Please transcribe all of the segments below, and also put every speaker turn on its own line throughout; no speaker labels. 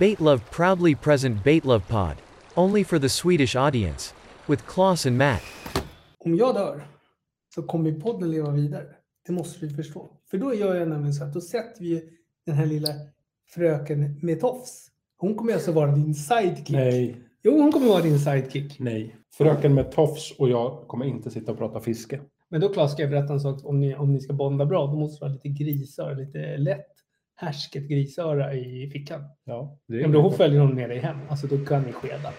Baitlove proudly present Baitlove Pod. Only for the Swedish audience. With Klaus and Matt.
om jag dör så kommer podden leva vidare. Det måste vi förstå. För då gör jag nämligen så att då sätter vi ju den här lilla fröken med tofs. Hon kommer alltså vara din sidekick.
Nej,
Jo, hon kommer vara din sidekick.
nej. Fröken med tofs och jag kommer inte sitta och prata fiske.
Men då Claes ska jag berätta en sak. Om ni, om ni ska bonda bra, då måste det vara lite grisöra, lite lätt härsket grisöra i fickan.
Ja, det
Om då hon följer hon med dig hem, alltså då kan ni skeda.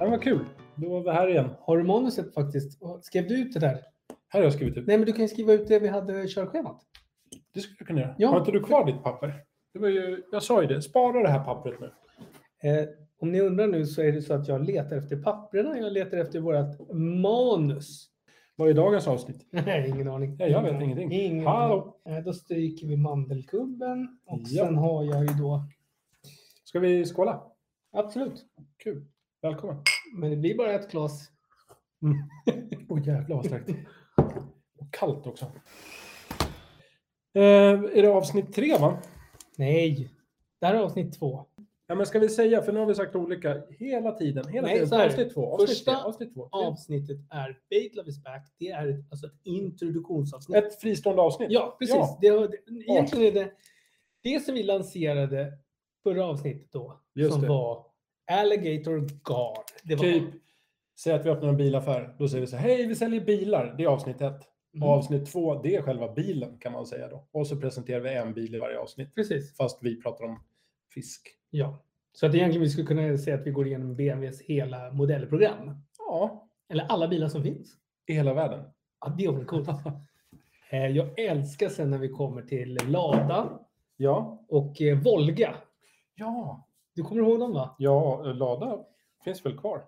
Ja, vad kul. Då var vi här igen.
Har du manuset faktiskt? Skrev du ut det där?
Här har jag skrivit ut.
Nej, men du kan ju skriva ut det vi hade körschemat.
Det skulle jag kunna göra.
Ja.
Har inte du kvar ditt papper? Det var ju, jag sa ju det. Spara det här pappret nu.
Eh, om ni undrar nu så är det så att jag letar efter papperna. Jag letar efter vårt manus.
Vad är dagens avsnitt?
Nej, ingen aning.
Nej, jag vet ingenting.
Ingen
Hallå.
aning. Eh, då stryker vi mandelkubben och
Ja.
sen har jag ju då...
Ska vi skåla?
Absolut.
Kul. Välkommen.
Men det blir bara ett glas.
Åh jävlar vad starkt. Och kallt också. Eh, är det avsnitt tre va?
Nej, det här är avsnitt två.
Ja, men ska vi säga, för nu har vi sagt olika hela tiden. Hela
Nej, så
tiden.
här.
Avsnitt två, avsnitt
Första
tre, avsnitt två.
Avsnittet är Bait Love is back. Det är ett, alltså ett introduktionsavsnitt.
Ett fristående avsnitt.
Ja, precis.
Ja.
Det, var- det, egentligen är det det som vi lanserade förra avsnittet då,
Just
som
det.
var Alligator Gar. Det var
Typ, säg att vi öppnar en bilaffär. Då säger vi så här, hej vi säljer bilar. Det är avsnitt ett.
Mm.
Och avsnitt två, det är själva bilen kan man säga då. Och så presenterar vi en bil i varje avsnitt.
Precis.
Fast vi pratar om fisk.
Ja. Så att egentligen vi skulle kunna säga att vi går igenom BMWs hela modellprogram.
Ja,
Eller alla bilar som finns.
i hela världen.
Ja, det vore coolt. Eh, Jag älskar sen när vi kommer till Lada
Ja,
och eh, Volga.
ja,
Du kommer ihåg dem va?
ja, Lada finns väl kvar?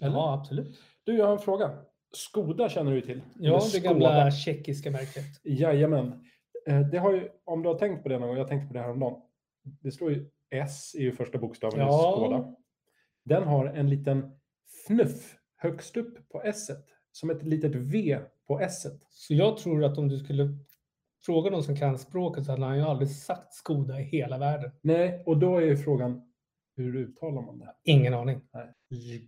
Eller?
Ja, absolut.
Du, jag har en fråga. Skoda känner du ju till. Eller
Ja, det
Skoda.
gamla tjeckiska märket.
Jajamän. Eh, Det har ju, om du har tänkt på det någon gång, jag tänkte på det här om dagen. Det står ju S är ju första bokstaven
Ja.
i Skoda. Den har en liten fnuff högst upp på S. Som ett litet V på S.
Så jag tror att om du skulle fråga någon som kan språket så hade han ju aldrig sagt Skoda i hela världen.
Nej, och då är ju frågan, hur uttalar man det?
Ingen aning.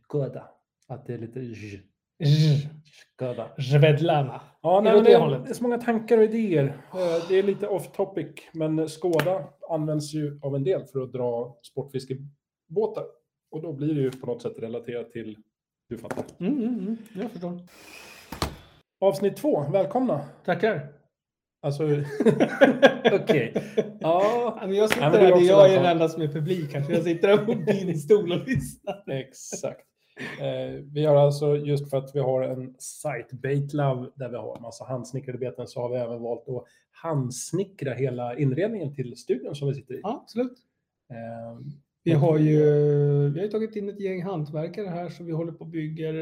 Skoda. Att det är lite j.
Zh,
Skoda.
Zvedlana.
Ja, nej,
åt
men
det
det, är,
hållet.
det är så många tankar och idéer. Eh, Det är lite off topic, men Skoda används ju av en del för att dra sportfiskebåtar. Och då blir det ju på något sätt relaterat till, du fattar.
Mm, mm, mm. Jag förstår.
Avsnitt två, välkomna.
Tackar.
Alltså, okej. Ja,
Ja, men jag sitter
Ja, men det
här,
är
det
också
är jag är
välkommen.
den enda som är publik här, så jag sitter här på din stol och lyssnar.
exakt. Eh, Vi har alltså, just för att vi har en sajt, Baitlove, där vi har en massa handsnickrade beten, så har vi även valt att handsnickra hela inredningen till studion som vi sitter i.
Ja, absolut.
Eh,
Vi har ju, vi har ju tagit in ett gäng hantverkare här, så vi håller på och bygger.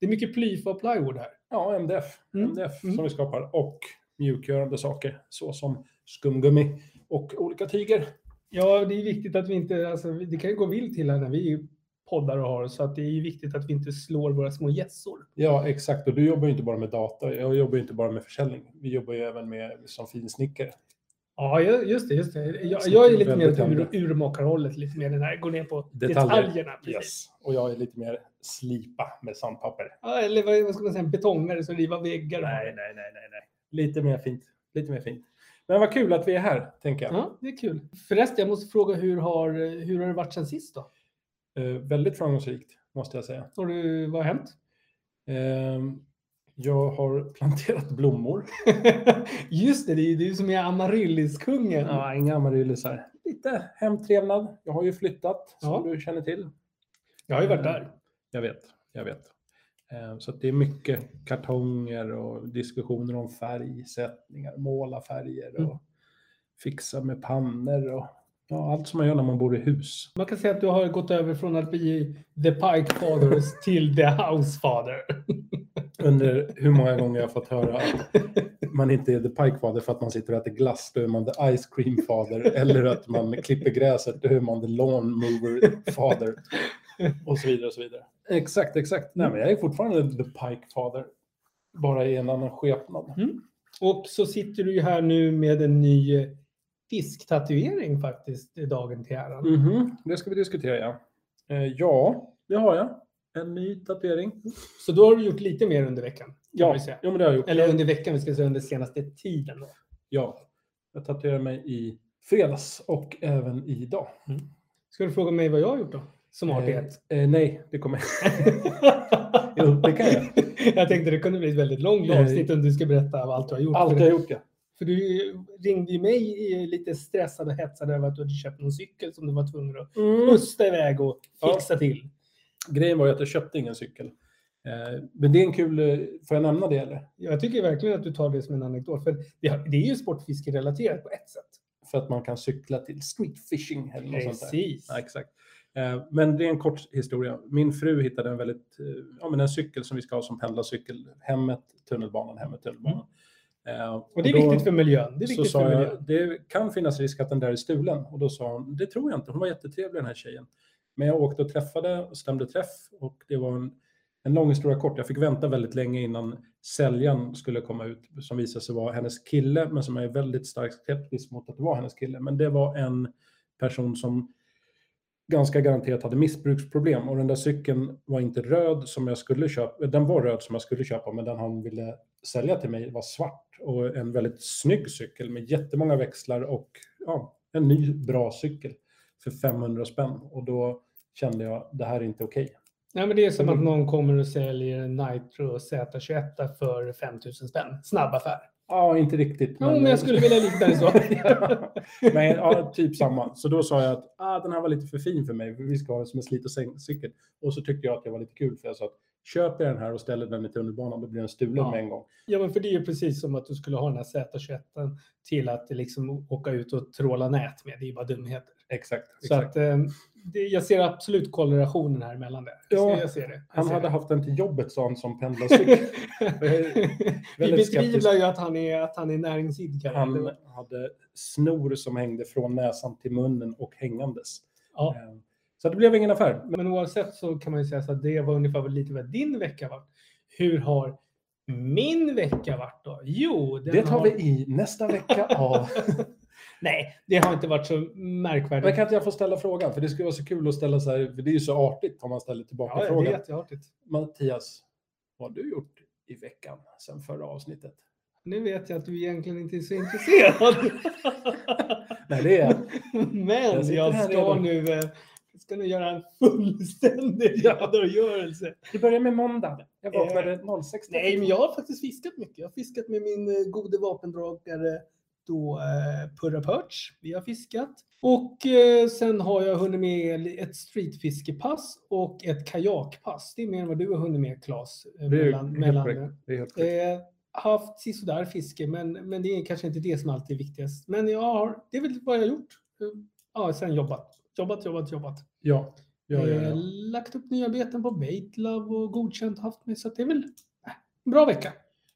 Det är mycket plyfa och plywood här.
Ja, MDF,
Mm.
MDF
Mm.
som vi skapar och mjukgörande saker såsom skumgummi och olika tyger.
Ja, det är viktigt att vi inte, alltså, det kan ju gå vilt till här när vi poddar och har, så att det är ju viktigt att vi inte slår våra små gässor.
Ja, exakt. Och du jobbar ju inte bara med data. Jag jobbar ju inte bara med försäljning. Vi jobbar ju även med som finsnickare.
Ja, ju- just det. Just det. Jag,
Så
jag
det
är
är
lite mer
väldigt
åt ur,
hemligt.
urmakarhållet, lite mer den här, går ner på
Detaljer.
detaljerna. precis.
Yes. Och jag är lite mer slipa med sandpapper.
Ja, eller vad, vad ska man säga, en betongare som rivar väggar.
Nej, nej, nej, nej, nej. Lite mer fint. Lite mer fint. Men vad kul att vi är här, tänker jag.
Ja, det är kul. Förresten, jag måste fråga, hur har, hur har det varit sen sist då?
Eh, väldigt framgångsrikt, måste jag säga.
Har du, vad har hänt?
Ehm, jag har planterat blommor.
Just det, det är ju du som är amarylliskungen.
Ja, inga amaryllisar. Lite hemtrevnad. Jag har ju flyttat, som du känner till.
Jag har ju varit där.
Jag vet, jag vet. Eh, Så att det är mycket kartonger och diskussioner om färgsättningar, måla färger och
Mm.
fixa med pannor och ja, allt som man gör när man bor i hus.
Man kan säga att du har gått över från att bli the Pike Fathers till the House Father.
Under hur många gånger jag har fått höra att man inte är the pike father för att man sitter och äter glass, då är man the ice cream father. Eller att man klipper gräset, då är man the lawn mover father. och så vidare. och så vidare. Exakt, exakt. Nej, men jag är fortfarande the Pike Father, bara i en annan skepnad.
Och så sitter du ju här nu med en ny eh, fisktatuering faktiskt, i dagen till äran.
Mhm, Det ska vi diskutera, ja. Eh, ja, det har jag. En ny tatuering.
Så då har du gjort lite mer under veckan. kan man
Ja,
ju säga.
ja men det har jag gjort.
Eller under veckan, vi ska säga under senaste tiden. Då.
Ja, jag tatuerade mig i fredags och även idag.
Ska du fråga mig vad jag har gjort då? Som artighet.
Eh, eh, nej, det kommer Jo, det kan jag.
jag tänkte det kunde bli ett väldigt långt
Nej.
avsnitt om du ska berätta av allt du har gjort.
Allt
för,
jag har gjort, ja.
för du ringde ju mig eh, lite stressad och hetsad över att du hade köpt en cykel som du var tvungen att musta iväg och
Mm. Ja.
fixa till.
Grejen var ju att jag köpte ingen cykel. Eh, men det är en kul... eh, Får jag nämna det eller?
Jag tycker verkligen att du tar det som en anekdot. För det har- det är ju sportfiskerelaterat på ett sätt.
För att man kan cykla till streetfishing eller något sånt där.
Precis.
Ja, exakt. Eh, Men det är en kort historia. Min fru hittade en väldigt, eh, ja men en cykel som vi ska ha som pendlarcykel. Hemmet, tunnelbanan, hemmet, tunnelbanan. Eh,
Mm. Och det är
då
viktigt för miljön. Det är
Så
viktigt för
sa
miljön.
jag, det kan finnas risk att den där är stulen. Och då sa hon, det tror jag inte. Hon var jättetrevlig den här tjejen. Men jag åkte och träffade och stämde träff. Och det var en, en lång historia kort. Jag fick vänta väldigt länge innan säljaren skulle komma ut. Som visade sig vara hennes kille. Men som jag är väldigt starkt skeptisk mot att det var hennes kille. Men det var en person som ganska garanterat hade missbruksproblem. Och den där cykeln var inte röd som jag skulle köpa. Den var röd som jag skulle köpa. Men den han ville sälja till mig var svart och en väldigt snygg cykel med jättemånga växlar och ja, en ny bra cykel för 500 spänn. Och då kände jag, det här är inte okej.
Nej, men det är som
Mm.
att någon kommer och säljer en Nitro Z21 för 5000 spänn. Snabb affär.
Ja, inte riktigt.
Ja, men jag skulle vilja likna det så.
Ja, men ja, typ samma. Så då sa jag att ah, den här var lite för fin för mig. Vi ska ha den som en slit och slängcykel. Och så tyckte jag att det var lite kul för jag sa att köper jag den här och ställer den i tunnelbanan då blir den stulen
Ja.
med en gång.
Ja, men för det är ju precis som att du skulle ha den här Z21 till att liksom åka ut och tråla nät med. Det är ju bara dumheter.
Exakt.
Så att,
exakt.
eh, det, jag ser absolut korrelationen här mellan det. Jag
Ja,
ser- jag ser det. Jag
han
ser
hade
det.
haft den till jobbet sa han som pendlarcykel.
Vi
väldigt
betvivlar
skeptisk.
ju att han är, att han är näringsidkare.
Han hade snor som hängde från näsan till munnen och hängandes.
Ja.
Eh, Så det blev ingen affär. Men
Men oavsett så kan man ju säga så att det var ungefär vad- lite vad din vecka var. Hur har min vecka varit då? Jo, den
det tar
har...
vi i nästa vecka. av.
Nej, det har inte varit så
Men
märkvärdigt.
kan inte jag få ställa frågan? För det skulle vara så kul att ställa så här. För det är ju så artigt om man ställer tillbaka
Ja, jag
frågan.
vet, jag har det.
Mattias, vad har du gjort i veckan sedan förra avsnittet?
Nu vet jag att du egentligen inte är så intresserad.
Nej, det är
Men
Jag sitter
jag
här
ska
redan.
nu, eh, jag ska nu göra en fullständig redogörelse.
Det börjar med måndag. Jag
vaknade
06.
Eh, Nej, men jag har faktiskt fiskat mycket. Jag har fiskat med min eh, gode vapendragare då eh, Purra Perch. Vi har fiskat. Och eh, sen har jag hunnit med ett streetfiskepass och ett kajakpass. Det är mer än vad du har hunnit med Claes. eh,
Det är
Mellan, mellan,
helt korrekt.
eh, haft sisådär fiske, men, men det är kanske inte det som alltid är viktigast. Men jag har, det är väl vad jag har gjort. Eh, Ja, sen jobbat. Jobbat, jobbat, jobbat.
Ja, ja, ja,
Eh,
ja.
Lagt upp nya beten på Baitlove och godkänt haft mig, så att det är väl eh, en bra vecka.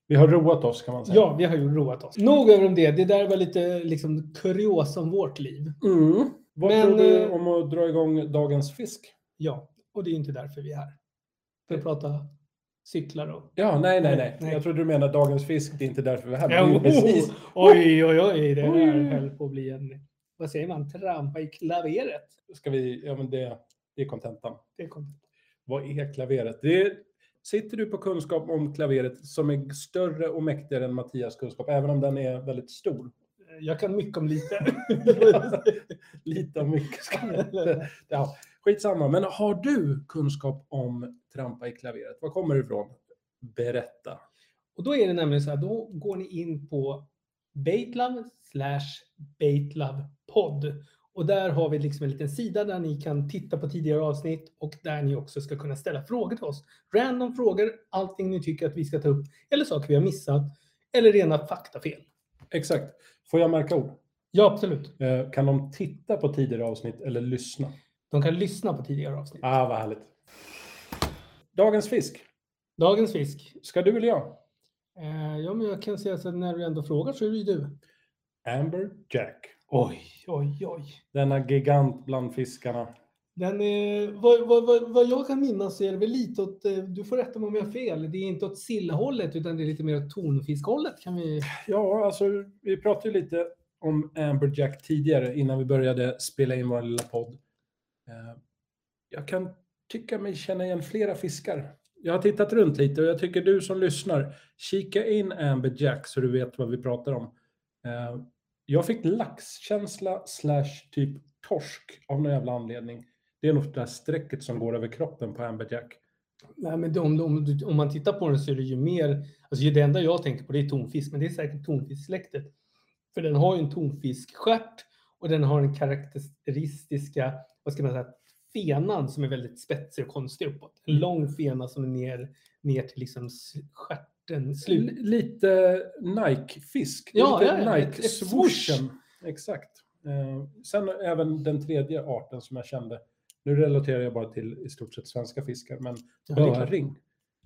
Vi har roat oss kan man säga.
Ja, vi har ju roat oss. Nog över om det. Det där var lite liksom kuriosa om vårt liv.
Mm. Vad
Men,
tror du
eh,
om att dra igång dagens fisk?
Ja, och det är ju inte därför vi är här. För att prata cyklar och...
Ja, nej, nej, nej.
Nej. oh.
Jag trodde du menar dagens fisk. Det är inte därför vi är här. men det är ju precis.
Oj, oj, oj. Det
Oj.
där höll på att bli en... Vad säger man? Trampa i klaveret.
Ska vi, ja, men det, det är kontentan.
Det kom.
Vad är klaveret? Det är, sitter du på kunskap om klaveret som är större och mäktigare än Mattias kunskap, även om den är väldigt stor?
Jag kan mycket om lite.
Lite av mycket ska man inte- ja, Skitsamma, men har du kunskap om trampa i klaveret? Var kommer du ifrån? Berätta.
och då är det nämligen så här, då går ni in på Baitlove slash Baitlove podd. Och där har vi liksom en liten sida där ni kan titta på tidigare avsnitt och där ni också ska kunna ställa frågor till oss. Random frågor, allting ni tycker att vi ska ta upp eller saker vi har missat eller rena faktafel.
Exakt. Får jag märka ord?
Ja, absolut.
Eh, Kan de titta på tidigare avsnitt eller lyssna?
De kan lyssna på tidigare avsnitt.
Ah, vad härligt. Dagens fisk.
Dagens fisk.
Ska du eller jag?
Eh, ja, men jag kan säga så att när du ändå frågar så är det ju du.
Amber Jack.
Oj, oj, oj.
Denna gigant bland fiskarna.
Den är, vad, vad, vad, vad jag kan minnas så är det väl lite åt, eh, du får rätta mig om jag har fel, det är inte åt sillhållet utan det är lite mer åt tonfiskhållet kan vi...
Ja, alltså vi pratade ju lite om Amberjack tidigare innan vi började spela in vår lilla podd. Eh, Jag kan tycka mig känna igen flera fiskar. Jag har tittat runt lite och jag tycker du som lyssnar, kika in Amberjack så du vet vad vi pratar om. Eh, Jag fick laxkänsla slash typ torsk av någon jävla anledning. Det är nog det här strecket som går över kroppen på Amberjack.
Nej, men det- om, om, du- om man tittar på den så är det ju mer, alltså det enda jag tänker på det är tonfisk, men det är säkert tonfisksläktet. För den har ju en tonfiskstjärt och den har den karaktäristiska, vad ska man säga, fenan som är väldigt spetsig och konstig uppåt. En lång fena som är ner, ner till liksom s- stjärten, slut.
L- lite Nike-fisk. Det är
Ja,
lite
ja, ja, ett- ett
Nike-swooshen. Exakt. Eh, sen även den tredje arten som jag kände. Nu relaterar jag bara till i stort sett svenska fiskar, men
Ja, det är klart.
öring.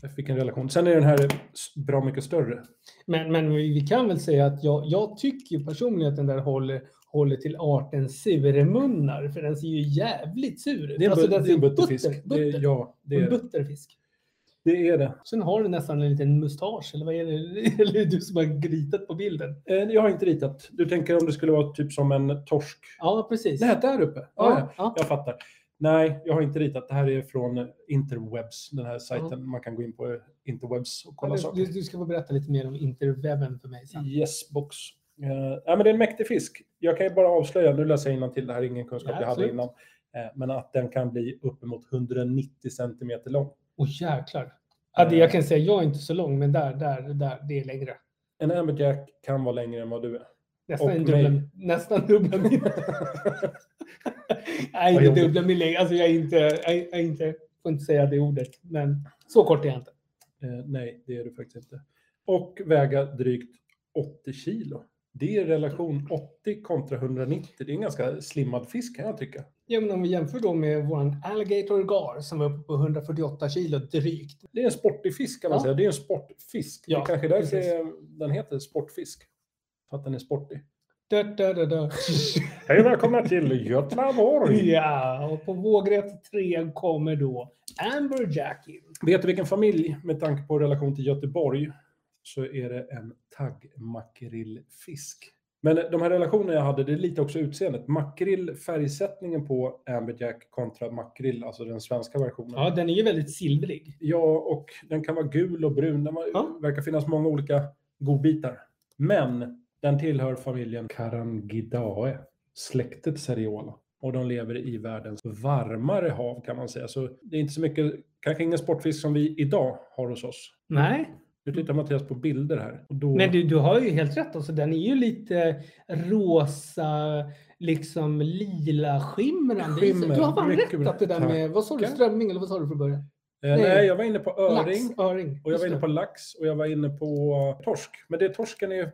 Jag fick en relation. Sen är den här s- bra mycket större.
Men, men vi vi kan väl säga att jag, jag tycker ju personligen att den där håller, håller till arten surmunnar, för den ser ju jävligt sur ut.
Det är,
Alltså, den
bu- det är en
ser
butterfisk.
Butter,
Det
butter.
är, ja, det
En
är,
butterfisk.
det är det.
Sen har du nästan en liten mustasch, eller vad är det? Eller är det du som har gritat på bilden?
Eh, Jag har inte ritat. Du tänker om det skulle vara typ som en torsk?
Ja, precis.
Nej, där uppe. Ja, ja.
ja, ja.
Jag fattar. Nej, jag har inte ritat. Det här är från Interwebs, den
Mm.
här sajten. Man kan gå in på Interwebs och kolla
du,
saker.
du ska få berätta lite mer om interwebben för mig sen.
Yesbox. Uh, men det är en mäktig fisk. Jag kan ju bara avslöja, nu läser jag till det här är ingen kunskap
Ja,
jag hade
absolut.
innan. Eh, men att den kan bli uppemot 190 centimeter lång.
Åh jäklar. Ja, det, jag kan säga, jag är inte så lång, men där, där, där, det är längre.
En amberjack kan vara längre än vad du är.
Nästan
Och
en dubbla,
mig.
nästan dubbla min. Nej, inte
Vad jobbigt.
dubbla min längd. Alltså jag är inte, jag, är- jag är inte, får inte säga det ordet, men så kort är jag inte.
Eh, nej, det är du faktiskt inte. Och väga drygt 80 kilo. Det är relation 80 kontra 190. Det är en ganska slimmad fisk kan jag tycka.
Ja, men om vi jämför då med våran alligator gar som var uppe på 148 kilo drygt.
Det är en sportig fisk kan man
Ja.
säga. Det är en sportfisk.
Ja,
det är kanske är därför
precis.
den heter sportfisk. För att den är sportig.
Da, da, da, da.
Hej välkomna till Götlaborg!
Ja, och på vågrätt 3 kommer då Amberjack in.
Vet du vilken familj, med tanke på relation till Göteborg, så är det en taggmakrillfisk. Men de här relationerna jag hade, det är lite också utseendet. Makrill, färgsättningen på amberjack kontra makrill, alltså den svenska versionen.
Ja, den är ju väldigt silvrig.
Ja, och den kan vara gul och brun. Den var,
Ja.
verkar finnas många olika godbitar. Men den tillhör familjen Carangidae, släktet Seriola. Och de lever i världens varmare hav kan man säga. Så det är inte så mycket, kanske ingen sportfisk som vi idag har hos oss.
Nej,
Nu tittar Mattias på bilder här. Och då,
men du, du har ju helt rätt. Alltså, den är ju lite rosa, liksom lila skimrande. i sig.
Skimmer,
du har fan
mycket
rätt
bra.
att det där med, vad sa du,
Tack.
strömming eller vad sa du från början?
eh, nej, jag var inne på öring.
Lax, öring.
Och jag
Just
var inne
det.
på lax och jag var inne på torsk. Men det torsken är,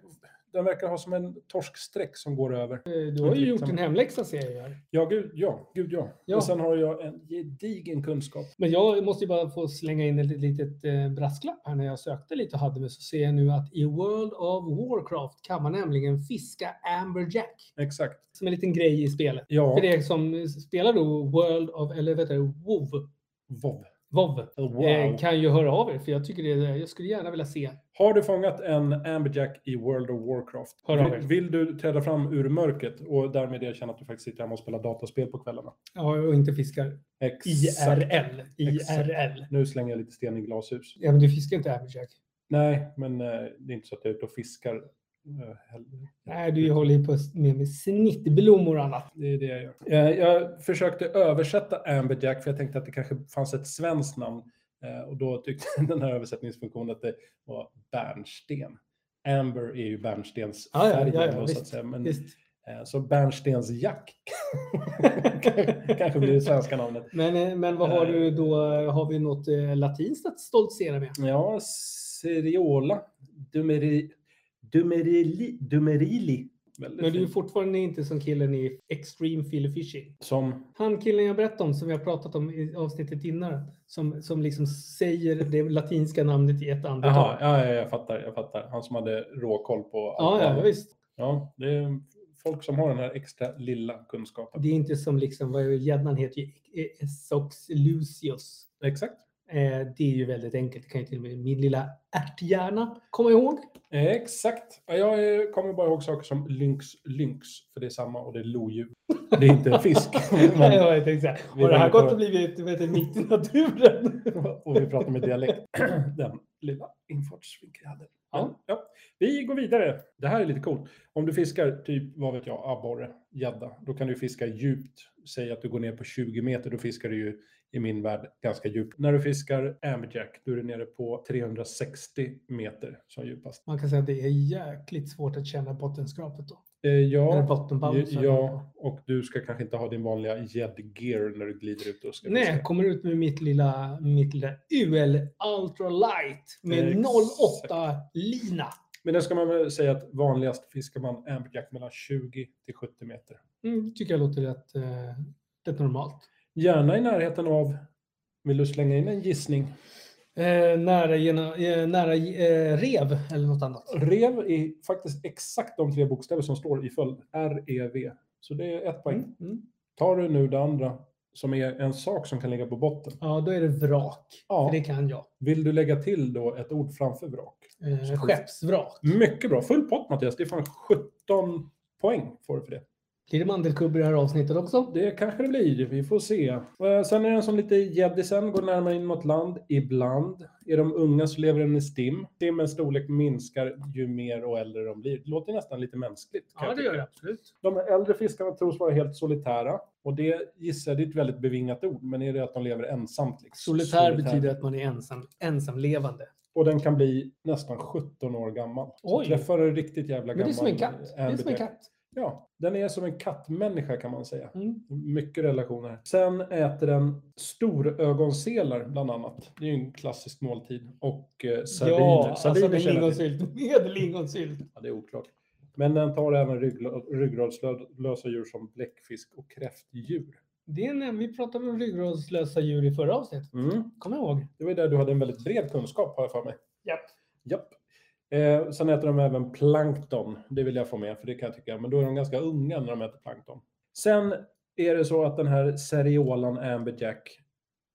den verkar ha som en torsksträck som går över.
Eh, Du har ju gjort
Liksom.
en hemläxa ser jag här.
Ja, gud ja. Gud, ja.
Ja.
Och sen har jag en gedigen kunskap.
Men jag måste ju bara få slänga in ett litet eh, brasklapp här när jag sökte lite och hade mig så ser jag nu att i World of Warcraft kan man nämligen fiska Amberjack
Exakt.
som en liten grej i spelet.
Ja,
För det som spelar då World of, eller vet du, WoW,
wow.
WoW
Wow.
eh, kan ju höra av er för jag tycker det, är- jag skulle gärna vilja se.
Har du fångat en amberjack i World of Warcraft?
Hör av er.
Vill, vill du träda fram ur mörkret och därmed erkänna att du faktiskt sitter hemma och spelar dataspel på kvällarna?
Ja, och inte fiskar
Exakt.
IRL. IRL.
Nu slänger jag lite sten i glashus.
Ja, men du fiskar inte Amberjack.
Nej, men eh, det är inte så att jag är ute och fiskar. eh, heller.
Nej, du håller ju på med, med snittblommor och annat.
Det är det jag gör. Eh, Jag försökte översätta Amberjack för jag tänkte att det kanske fanns ett svenskt namn. Eh, Och då tyckte den här översättningsfunktionen att det var bärnsten. Amber är ju
Ah, Ja, ja,
bärnstensfärgen.
ja, ja,
då, så,
visst,
att säga. Men,
Visst.
eh, så bärnstensjack kanske blir det svenska namnet.
Men, eh, men vad har du då? Har vi något eh, latinskt att stoltsera med?
Ja, Seriola. Dumeri, dumerili, dumerili. Väldigt
Men du är ju
fint.
fortfarande inte som killen i Extreme Feel Fishing.
Som
Han killen jag berättade om, som vi har pratat om i avsnittet innan, som, som liksom säger det latinska namnet i ett
Jaha,
andetag.
ja, ja, jag fattar, jag fattar. Han som hade råkoll på
Ja, ja,
annat.
visst.
Ja, det är folk som har den här extra lilla kunskapen.
Det är inte som liksom, vad gäddan heter ju, eh, Sox lucius.
Exakt.
Eh, det är ju väldigt enkelt. Det kan ju till och med min lilla ärthjärna komma ihåg.
Eh, Exakt. Ja, Jag eh, kommer bara ihåg saker som lynx, lynx, för det är samma och det är lodjur. Det är inte en fisk.
Nej,
Men,
jag tänkte så här,
vi
Har det här
tänker på-
gått och blivit du vet, en mitt i naturen?
och vi pratar med dialekt. Den lilla infartsvinkeln jag hade. Men, ja. Vi går vidare. Det här är lite coolt. Om du fiskar typ, vad vet jag, abborre, gädda, då kan du fiska djupt. Säg att du går ner på 20 meter, då fiskar du ju i min värld ganska djupt. När du fiskar amberjack, då är du nere på 360 meter som djupast.
Man kan säga att det är jäkligt svårt att känna bottenskrapet då.
Eh, ja.
Eller bottenbouncer.
Ja, och du ska kanske inte ha din vanliga gäddgear när du glider ut och ska
Nej,
fiska.
jag kommer ut med mitt lilla, mitt lilla UL Ultralight med
Exakt.
08-lina.
Men det ska man väl säga att vanligast fiskar man amberjack mellan 20 till 70 meter.
Mm, det tycker jag låter rätt, eh, rätt normalt.
Gärna i närheten av, vill du slänga in en gissning?
Eh, nära gena, eh, nära eh, rev eller något annat.
Rev är faktiskt exakt de tre bokstäver som står i följd. R-E-V. Så det är ett poäng.
Mm. Mm.
Tar du nu det andra, som är en sak som kan ligga på botten.
Ja, då är det vrak.
Ja.
För det kan jag.
Vill du lägga till då ett ord framför vrak?
Eh, skeppsvrak.
Mycket bra. Full pott Mattias. Det är fan 17 poäng får du för det.
Blir det mandelkubb i det här avsnittet också?
Det kanske det blir. Vi får se. Eh, Sen är den som lite gäddisen, går närmare in mot land ibland. Är de unga så lever den i stim. Stimmens storlek minskar ju mer och äldre de blir. Det låter nästan lite mänskligt. kan jag tycka.
absolut.
De här äldre fiskarna tros vara helt solitära. Och det gissar jag, det är ett väldigt bevingat ord, men är det att de lever ensamt? Liksom?
Solitär betyder att man är ensam, ensamlevande.
Och den kan bli nästan 17 år gammal. Så
Oj.
Träffar du en riktigt jävla
Men
gammal...
det är som en katt. Det är som en
amberjack-
katt.
Ja, den är som en kattmänniska kan man säga.
Mm.
Mycket relationer. Sen äter den storögonselar bland annat. Det är ju en klassisk måltid. Och eh, sardiner.
Ja, alltså
Sardiner
med
känner jag till.
lingonsylt. Med lingonsylt.
Ja, det är oklart. Men den tar även ryggla- ryggraslösa djur som bläckfisk och kräftdjur.
Det är när vi pratade om ryggradslösa djur i förra avsnittet.
Mm.
Kommer jag ihåg.
Det var ju där du hade en väldigt bred kunskap har jag för mig.
Japp.
Japp. Eh, sen äter de även plankton. Det vill jag få med, för det kan jag tycka. Men då är de ganska unga när de äter plankton. Sen är det så att den här seriolan amberjack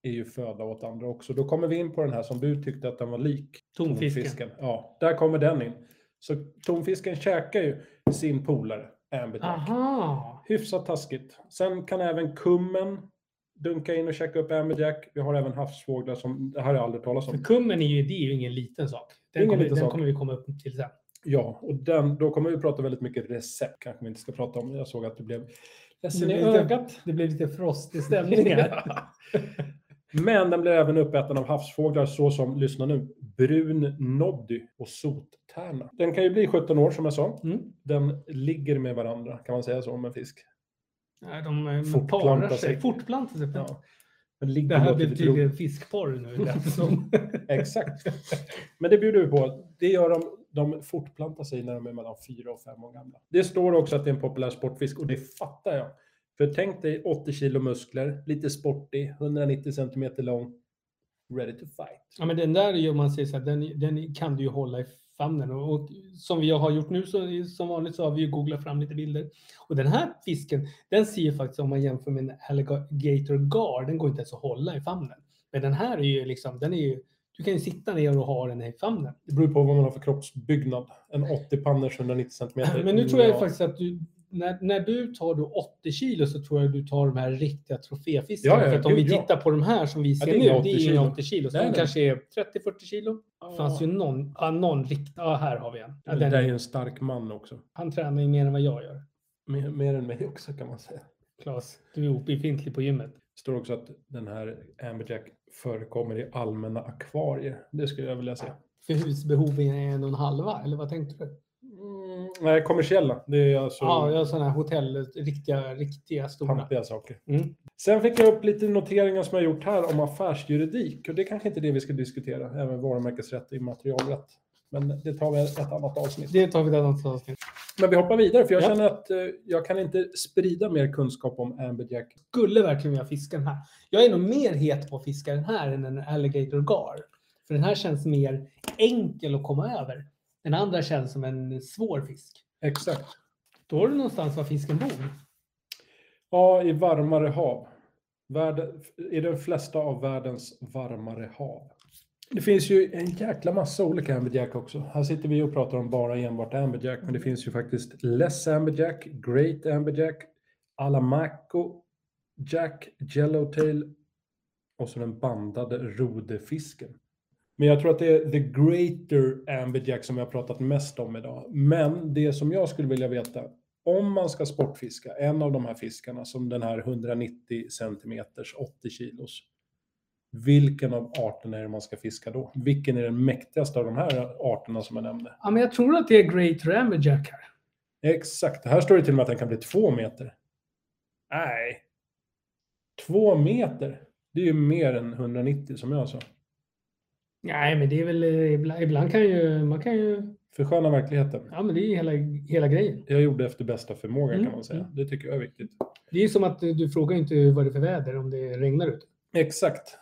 är ju föda åt andra också. Då kommer vi in på den här som du tyckte att den var lik.
Tonfisken.
Ja, där kommer den in. Så tonfisken käkar ju sin polare amberjack.
Aha.
Hyfsat taskigt. Sen kan även kummen dunka in och käka upp amberjack. Vi har även havsfåglar som, det här har jag aldrig talat om.
För kummen är ju, det är ju ingen liten sak.
Det är
Den,
ingen
kommer,
liten
den
sak.
kommer vi komma upp till sen.
Ja, och den, då kommer vi prata väldigt mycket recept. Kanske vi inte ska prata om. Jag såg att du blev ledsen i
Det blev-
ögat.
Det blir lite frostig stämning här.
Men den blir även uppäten av havsfåglar såsom, lyssna nu, brun noddy och sottärna. Den kan ju bli 17 år som jag sa.
Mm.
Den ligger med varandra, kan man säga så om en fisk?
Nej, de eh,
Fortplantar
parar sig.
sig.
Fortplantar sig.
Ja. Den ligger
Det här
låter
blev
lite roligt.
tydligen fiskporr nu. lät det som.
Exakt. Men det bjuder vi på. Det gör de, de fortplantar sig när de är mellan 4 och 5 år gamla. Det står också att det är en populär sportfisk och det fattar jag. För tänk dig 80 kilo muskler, lite sportig, 190 centimeter lång, ready to fight.
ja, men den där gör man sig så här, den, den kan du ju hålla i famnen. Och, och som jag har gjort nu så, som vanligt så har vi ju googlat fram lite bilder. Och den här fisken, den ser ju faktiskt om man jämför med en alligator gar, den går inte ens att hålla i famnen. Men den här är ju liksom, den är ju, du kan ju sitta ner och ha den i famnen.
Det beror på vad man har för kroppsbyggnad. En 80 panners 190 centimeter.
Men nu tror jag
Eh, Ja.
faktiskt att du, när, när du tar då 80 kilo så tror jag du tar de här riktiga troféfiskarna.
Ja, ja,
för att om vi
gud, ja.
tittar på de här som vi ser
det är
nu,
inga
det
80
är
kilo.
inga 80 kilo. Så
Nej,
de
nej.
kanske är 30-40 kilo. Det fanns ju
Ja.
någon, ja, någon rikt, ja, här har vi en. Ja,
Det där är
den,
ju en stark man också.
han tränar ju mer än vad jag gör.
Mer, mer än mig också kan man säga.
Klas, du är obefintlig på gymmet.
Det står också att den här amberjack förekommer i allmänna akvarier. Det skulle jag vilja se.
För husbehoven är en och en halva, eller vad tänkte du?
Mm, nej, kommersiella. Det är alltså
Ja, jag har sådana här hotell, riktiga, riktiga stora.
pampiga saker.
Mm.
Sen fick jag upp lite noteringar som jag gjort här om affärsjuridik. Och det är kanske inte det vi ska diskutera, även varumärkesrätt och immaterialrätt. Men det tar vi ett annat avsnitt.
Det tar vi ett annat avsnitt.
Men vi hoppar vidare, för jag
Ja.
känner att eh, jag kan inte sprida mer kunskap om amberjack.
skulle verkligen vilja fiska den här. Jag är nog mer het på att fiska den här än en alligator gar. För den här känns mer enkel att komma över. Den andra känns som en svår fisk.
Exakt.
Står det någonstans var fisken bor?
Ja, i varmare hav. Världen, I de flesta av världens varmare hav. Det finns ju en jäkla massa olika amberjack också. Här sitter vi och pratar om bara enbart amberjack, men det finns ju faktiskt less amberjack, great amberjack, alamaco, jack, yellowtail och så den bandade rodefisken. Men jag tror att det är the greater amberjack som vi har pratat mest om idag. Men det som jag skulle vilja veta, om man ska sportfiska en av de här fiskarna som den här 190 centimeters 80 kilos. Vilken av arterna är det man ska fiska då? Vilken är den mäktigaste av de här arterna som jag nämnde?
Ja, men jag tror att det är Great Ramberjack här.
Exakt, här står det till och med att den kan bli två meter. Nej. Två meter? Det är ju mer än 190 som jag sa.
Nej, men det är väl eh, ibland, ibland kan ju man kan ju.
Försköna verkligheten.
Ja, men det är ju hela, hela grejen.
Jag gjorde efter bästa förmåga
Mm,
kan man säga. Det tycker jag är viktigt.
Det är ju som att du, du frågar inte vad det är för väder om det regnar ute.
Exakt.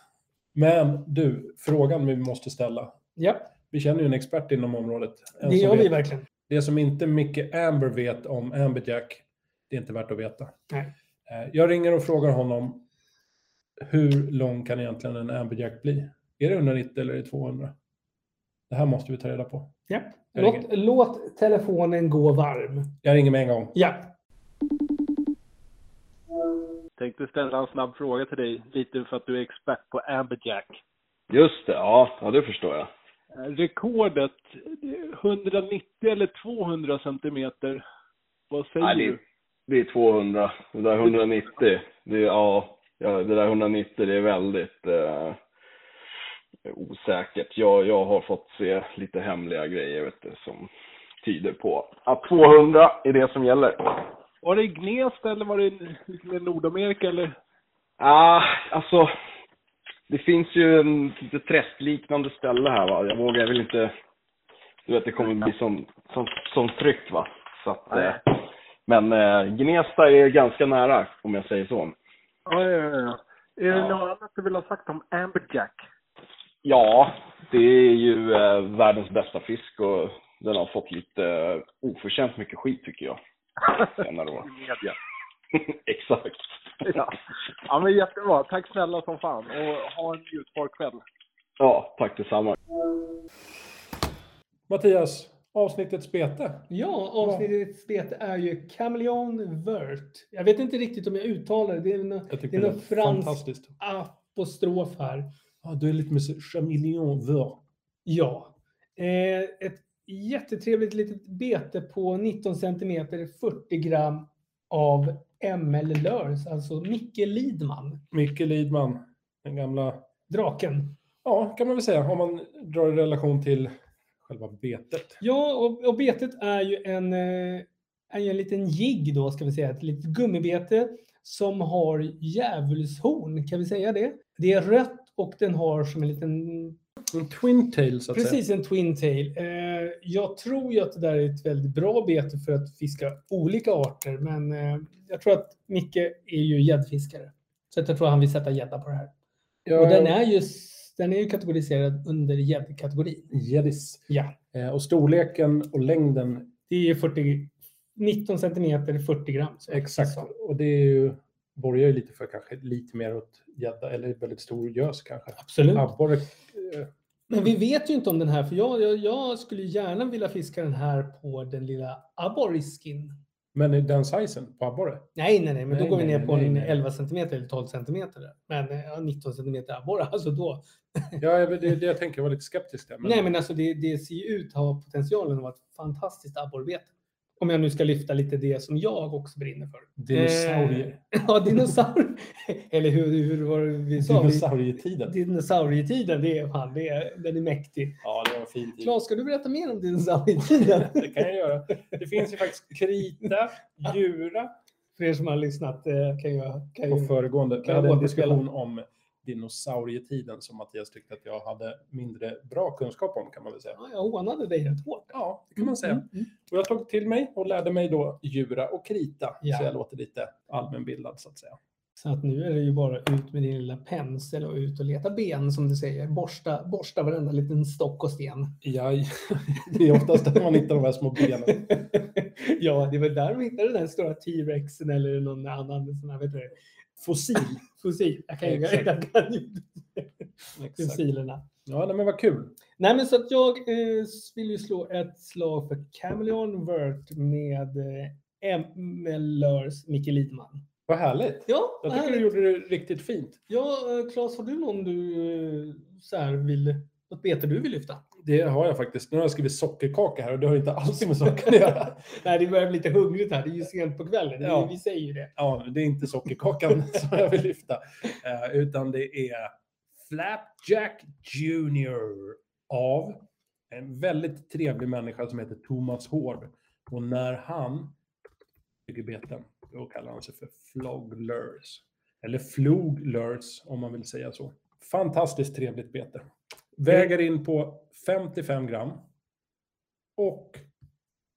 Men du, frågan vi måste ställa.
Ja,
Vi känner ju en expert inom området. En
det
som
gör vi
vet-
verkligen.
Det som inte Micke Amber vet om Amberjack, det är inte värt att veta.
Nej.
Eh, Jag ringer och frågar honom, hur lång kan egentligen en Amberjack bli? Är det 190 eller är det 200? Det här måste vi ta reda på.
Ja.
Jag
Låt,
ringer.
låt telefonen gå varm.
Jag ringer med en gång.
Ja.
Tänkte ställa en snabb fråga till dig, lite för att du är expert på amberjack.
Just det, ja, ja det förstår jag.
Eh, Rekordet, det är 190 eller 200 centimeter? Vad säger
Nej, det,
du?
är- det är 200. Det där 190, det är, ja, ja, det där 190 det är väldigt eh, osäkert. Jag, jag har fått se lite hemliga grejer vet du, som tyder på att 200 är det som gäller.
Var det i Gnesta eller var det i liksom i Nordamerika eller?
Ja, alltså. Det finns ju en lite träskliknande ställe här va. Jag vågar väl inte. Du vet, det kommer bli som, som, som tryckt va. Så att, eh, men eh, Gnesta är ganska nära om jag säger så.
Ja, ja, ja. Är
det
något annat du vill ha sagt om amberjack?
Ja, det är ju eh, världens bästa fisk och den har fått lite eh, oförtjänt mycket skit tycker jag. Senare år.
media.
Exakt.
Ja. ja, men jättebra. Tack snälla som fan och ha en njutbar kväll.
Ja, tack detsamma.
Mattias, avsnittets bete.
Ja, avsnittets bete är ju Cameleon Vert. Jag vet inte riktigt om jag uttalar det. Det är någon,
Jag
det
tycker
är
det
någon
är
fransk
fantastiskt.
apostrof här.
Ja, du är lite med chameleon vör.
Ja. Eh, ett jättetrevligt litet bete på 19 cm, 40 gram av ML Lörs, alltså Micke Lidman,
Micke Lidman, den gamla,
draken.
ja kan man väl säga, om man drar i relation till själva betet.
Ja, och, och betet är ju en, eh, är ju en liten jigg då, ska vi säga. Ett litet gummibete som har djävulshorn, kan vi säga det? Det är rött och den har som en liten
En twin tail så att säga.
Precis, en twin tail. Eh, jag tror ju att det där är ett väldigt bra bete för att fiska olika arter, men eh, jag tror att Micke är ju gäddfiskare. Så att jag tror han vill sätta gädda på det här.
Ja,
Och den är ju, s- den är ju kategoriserad under gäddkategorin.
Jedis.
Ja,
Eh, Och storleken och längden,
det är 40, 19 centimeter 40 gram. så.
exakt.
Så.
Och det är ju, borgar ju lite för kanske lite mer åt gädda, eller väldigt stor gös kanske.
Absolut.
Abborre, eh,
Men vi vet ju inte om den här, för jag, jag, jag skulle gärna vilja fiska den här på den lilla abborriskin.
men i den sizen på abborre.
Nej, nej, nej, men
Nej,
då går vi
nej,
ner
nej,
på
nej,
en
nej.
11 centimeter eller 12 centimeter. där. Men eh, ja, 19 centimeter abborre, alltså då.
Mm. Ja, jag- det, det jag tänker, jag var lite skeptisk där. Men,
Nej, men alltså det, det ser ju ut att ha potentialen att vara ett fantastiskt abborrbete. Om jag nu ska lyfta lite det som jag också brinner för.
Dinosaurier.
Ja, dinosaurier. eller hur, hur var det vi sa? Vi-
Dinosaurietiden.
Dinosaurietiden, det är fan, det är, den är mäktig.
Ja, det var en fin tid.
Claes, ska du berätta mer om dinosaurietiden?
Det kan jag göra. Det finns ju faktiskt krita, djura.
För er som har lyssnat eh, kan jag... Kan
På
jag
föregående. Vi
jag
hade en
återspela?
diskussion om dinosaurietiden som Mattias tyckte att jag hade mindre bra kunskap om kan man väl säga.
ja, jag hånade dig rätt hårt.
Ja, det kan man säga.
Mm, mm.
Och jag tog till mig och lärde mig då djura och krita.
Ja.
Så jag låter lite allmänbildad så att säga.
Så att nu är det ju bara ut med din lilla pensel och ut och leta ben som du säger. Borsta, borsta varenda liten stock och sten.
Ja, det är oftast där man hittar de här små benen.
ja, det var där de hittade den här stora T-rexen eller någon annan sån här, vet du,
Fossil.
fossil. Jag kan ju,
Exakt.
jag kan ju
Exakt.
fossilerna.
Ja, nej, men vad kul.
Nej, men så att jag eh, vill ju slå ett slag för Chameleon Vert med eh, MLRs Micke Lidman.
Vad härligt.
Ja,
Jag
vad
tycker
härligt.
du gjorde det riktigt fint.
ja eh, Claes, har du någon du eh, så här vill, något bete du vill lyfta?
Det har jag faktiskt. Nu har jag skrivit sockerkaka här och det har inte alls med saken att göra.
Nej, det börjar bli lite hungrigt här. Det är ju sent på kvällen. Det är-
Ja.
Vi säger ju det.
Ja, det är inte sockerkakan som jag vill lyfta. Eh, utan det är Flapjack Junior av en väldigt trevlig människa som heter Thomas Hård. Och när han bygger beten, då kallar han sig för Floglers. Eller Floglers om man vill säga så. Fantastiskt trevligt bete. Väger in på 55 gram och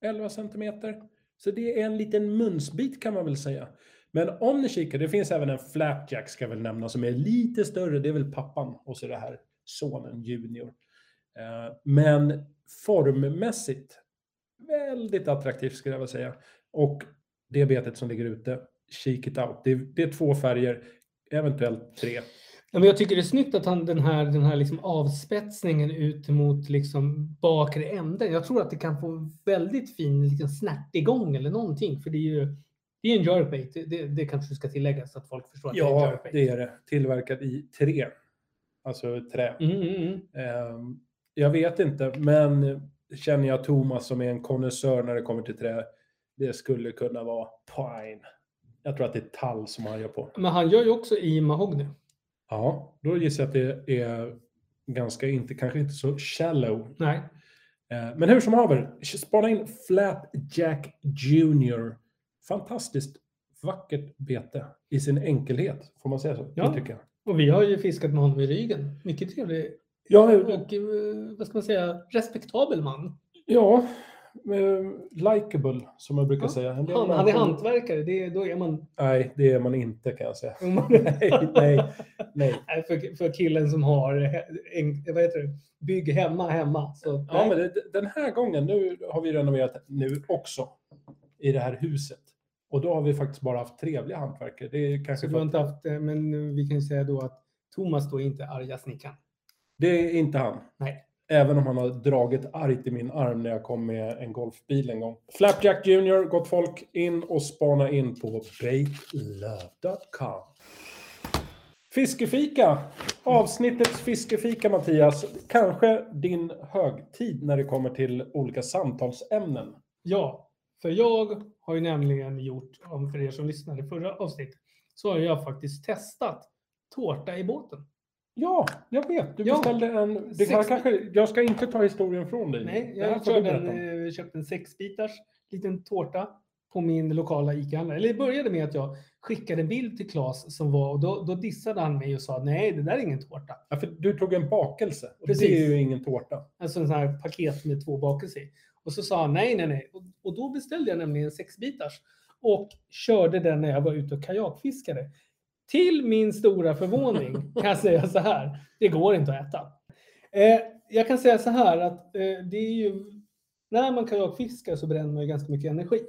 11 centimeter. Så det är en liten munsbit kan man väl säga. Men om ni kikar, det finns även en flapjack ska jag väl nämna som är lite större. Det är väl pappan och så det här sonen Junior. Eh, Men formmässigt väldigt attraktivt skulle jag vilja säga. Och det betet som ligger ute, shake it out. Det är, det är två färger, eventuellt tre.
Ja, men jag tycker det är snyggt att han, den här, den här liksom avspetsningen ut mot liksom bakre änden. Jag tror att det kan få en väldigt fin liksom snärtigång eller någonting. För det är ju det är en jerkbait. Det, det, det kanske ska tilläggas så att folk förstår att det är en
Ja,
jerkbait.
det är det. Tillverkad i trä. Alltså trä.
Mm, mm, mm.
Ehm, Jag vet inte, men känner jag Thomas som är en konnässör när det kommer till trä, det skulle kunna vara pine. Jag tror att det är tall som han gör på.
Men han gör ju också i mahogny.
Ja, då gissar jag att det är ganska, inte, kanske inte så shallow.
Nej.
Eh, Men hur som haver, spana in Flapjack Junior. Fantastiskt vackert bete i sin enkelhet, får man säga så?
Ja.
Det tycker jag.
Och vi har ju fiskat med honom i ryggen. Mycket trevlig
Ja,
och eh, vad ska man säga, respektabel man.
ja eh, likeable som jag brukar
Ja,
säga. En del
Han, han är
människor-
hantverkare. Det, då är man...
Nej, det är man inte kan jag säga. nej, nej, nej.
Nej, för, för killen som har he- en, vad heter det, bygg hemma hemma. Så,
Ja, men det, den här gången, nu har vi renoverat nu också i det här huset. Och då har vi faktiskt bara haft trevliga hantverkare. Det är
så
kanske
du har
för,
inte haft, eh, men eh, vi kan ju säga då att Thomas då är inte arga snickaren.
det är inte han.
Nej.
Även om han har dragit argt i min arm när jag kom med en golfbil en gång. Flapjack Junior, gott folk, in och spana in på baitlove.com. Fiskefika! Avsnittets fiskefika, Mattias. Kanske din högtid när det kommer till olika samtalsämnen.
Ja, för jag har ju nämligen gjort, om för er som lyssnade förra avsnitt, så har jag faktiskt testat tårta i båten.
Mm. Ja, jag vet. Du
Ja.
beställde en... Det
Sex-
här kanske, jag ska inte ta historien från dig.
Nej,
Det här
jag
får du
körde
berätta om.
en, eh, köpte en sexbitars liten tårta på min lokala ICA-handlare. Eller det började med att jag skickade en bild till Claes som var och då, då dissade han mig och sa nej, det där är ingen tårta.
Ja, för du tog en bakelse. Och det
Precis.
är ju ingen tårta.
Alltså en sån här paket med två bakelser i. Och så sa han nej, nej, nej. Och, och då beställde jag nämligen sexbitars och körde den när jag var ute och kajakfiskade. Till min stora förvåning kan jag säga så här. Det går inte att äta. Eh, jag kan säga så här att eh, det är ju när man kajakfiskar så bränner man ju ganska mycket energi.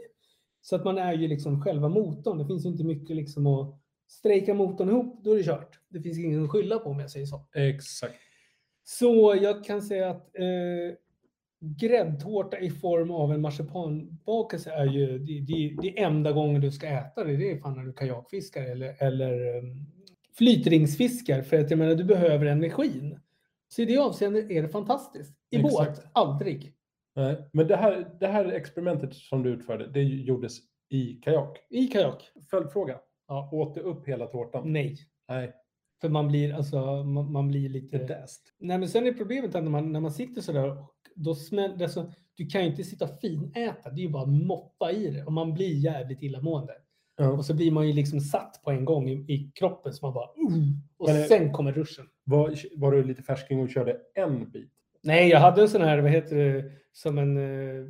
Så att man är ju liksom själva motorn. Det finns ju inte mycket liksom att strejka motorn ihop. Då är det kört. Det finns ingen att skylla på om jag säger så.
Exakt.
Så jag kan säga att eh, gräddtårta i form av en marsipanbakelse är ju det, det, det enda gången du ska äta det. Det är fan när du kajakfiskar eller, eller um, flytringsfiskar. För att jag menar, du behöver energin. Så i det avseendet är det fantastiskt. I båt,
Exakt.
aldrig.
Nej, Eh, men det här, det här experimentet som du utförde, det gjordes i kajak.
I kajak?
Följdfråga.
Ja.
Åt du upp hela tårtan?
Nej.
Nej.
För man blir, alltså, man, man blir lite...
Det däst.
Nej, men sen är problemet att när man, när man sitter sådär, och då smäller, alltså, du kan ju inte sitta och finäta. Det är ju bara att moppa i det och man blir jävligt illamående.
Ja.
Och så blir man ju liksom satt på en gång i, i kroppen så man bara uh, och
Men det-
sen kommer ruschen.
Var, var du lite färsking och körde en bit?
Nej, jag hade en sån här, vad heter det, som en eh,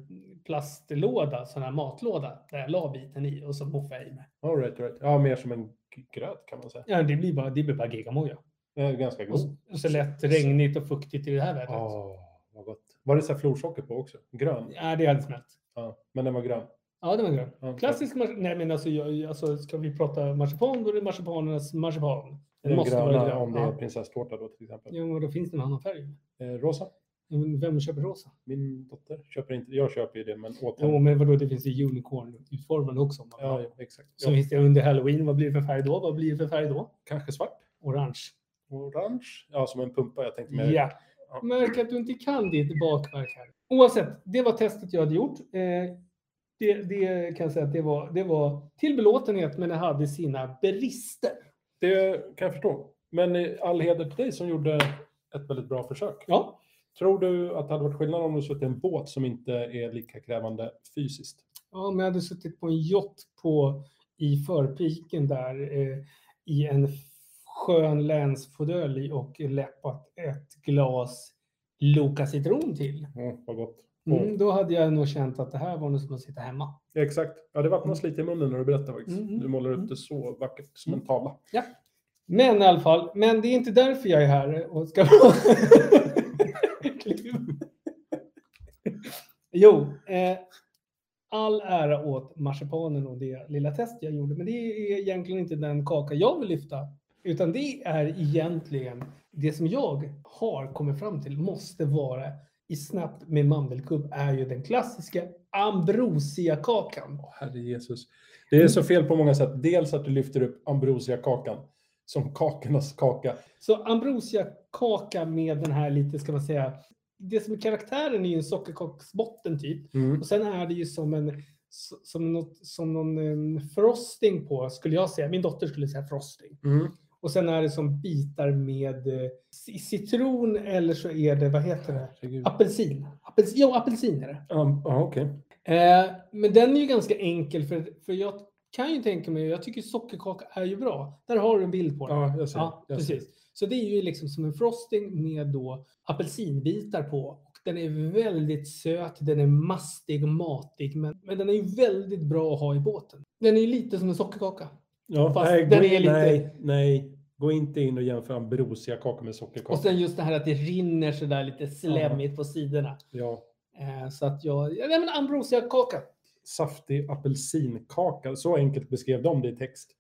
plastlåda, sån här matlåda, där jag la biten i och så moffade jag i mig.
All right, all right. Ja, mer som en g- gröt kan man säga.
Ja, det blir bara, det blir bara gigamoja.
Det är ganska
Och
god.
så- och så lätt regnigt och fuktigt i det här vädret.
Åh, vad gott. Var det så här florsocker på också? Grön?
Ja, det är alldeles snällt.
Ja, men den var grön.
Ja, det var grön.
Ja,
Klassisk marsipan. Nej, men alltså, jag, alltså, ska vi prata marsipan, då är det marsipanernas marsipan.
Den
Den måste
gröna,
vara grön.
om det är
ja.
prinsesstårta då till exempel.
Jo, men då finns det en annan färg.
Eh, rosa?
Men Vem köper rosa?
Min dotter köper inte. Jag köper ju det, men åt
Jo,
henne.
men vadå, det finns ju unicorn-utformade också. om man-
Ja, ja, exakt.
Så
Ja,
finns det under halloween, vad blir det för färg då? Vad blir det för färg då?
kanske svart?
Orange.
Orange? Ja, som en pumpa. Jag tänkte mer.
Ja.
Ja.
Märk att du inte kan ditt bakverk här. Oavsett, det var testet jag hade gjort. Eh, det, det kan jag säga att det var, det var till belåtenhet, men det hade sina brister.
Det kan jag förstå. Men eh, all heder till dig som gjorde ett väldigt bra försök.
Ja,
Tror du att det hade varit skillnad om du suttit i en båt som inte är lika krävande fysiskt?
ja men jag hade suttit på en yacht på, i förpiken där eh, i en skön länsfåtölj och läppat ett glas Loka citron till.
Mm, vad gott.
Mm, då hade jag nog känt att det här var nog som att sitta hemma.
Ja, Exakt. Ja, det vattnas lite i munnen när du berättar faktiskt.
Mm, mm,
Du målar
mm.
upp det så vackert som en tavla.
Men i alla fall, men det är inte därför jag är här och ska... jo, eh, all ära åt marsipanen och det lilla test jag gjorde, men det är egentligen inte den kaka jag vill lyfta, utan det är egentligen det som jag har kommit fram till måste vara i snabbt med mandelkubb är ju den klassiska ambrosiakakan.
Åh, herre Jesus. Det är
Mm.
så fel på många sätt. Dels att du lyfter upp ambrosiakakan som kakornas kaka.
Så ambrosiakaka med den här lite, ska man säga, det som är karaktären är ju en sockerkaksbotten typ.
Mm.
Och sen är det ju som en s- som, något, som någon em, frosting på, skulle jag säga. Min dotter skulle säga frosting.
Mm.
Och sen är det som bitar med eh, c- citron eller så är det, vad heter det?
Herregud.
Apelsin. apelsin ja, apelsin är det.
Um, ja, okej.
Eh, men den är ju ganska enkel för, för jag kan ju tänka mig, jag tycker sockerkaka är ju bra. Där har du en bild på den.
Ja, jag ser.
Ja,
jag ser.
precis. Så det är ju liksom som en frosting med då apelsinbitar på. Och den är väldigt söt, den är mastig och matig, men, men den är ju väldigt bra att ha i båten. Den är ju lite som en sockerkaka.
Ja,
Fast
nej,
den
gå
är
in,
lite-
nej, nej. Gå inte in och jämför ambrosiakaka med sockerkaka.
Och sen just det här att det rinner sådär lite slemmigt på sidorna.
Ja,
Eh, så att jag, ja, nej men ambrosiakaka.
saftig apelsinkaka. Så enkelt beskrev de det i text.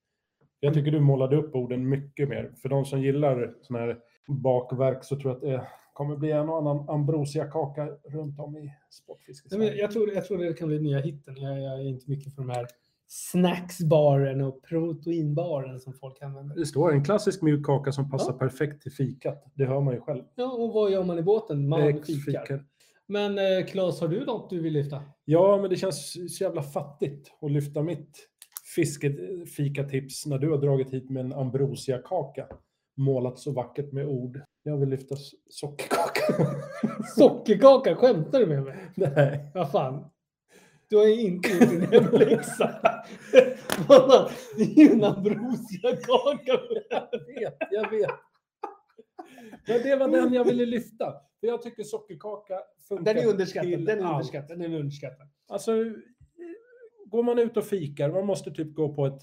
Jag tycker du målade upp orden mycket mer. För de som gillar sådana här bakverk så tror jag att det kommer bli en och annan ambrosiakaka runt om i sportfisket.
Nej, men jag, jag, tror, jag tror det kan bli nya hitten. Jag, jag är inte mycket för de här snacksbaren och proteinbaren som folk använder.
Det står en klassisk mjuk kaka som passar
Ja.
perfekt till fikat. Det hör man ju själv.
Ja, och vad gör man i båten? Man
Eh,
fikar.
fikar.
Men eh, Claes, har du något du vill lyfta?
Ja, men det känns så jävla fattigt att lyfta mitt fiskfikatips när du har dragit hit med en ambrosiakaka. Målat så vackert med ord. Jag vill lyfta s- sockerkaka.
Sockerkaka, skämtar du med mig?
Nej.
Vad fan? Du har ju inte gjort din hemläxa. Fan, Det är ju en ambrosiakaka.
Jag vet, jag vet. Men det var den jag ville lyfta. För jag tycker sockerkaka funkar
Den är underskattad.
till
Den är
allt.
underskattad. Den är underskattad.
Alltså, går man ut och fikar, man måste typ gå på ett,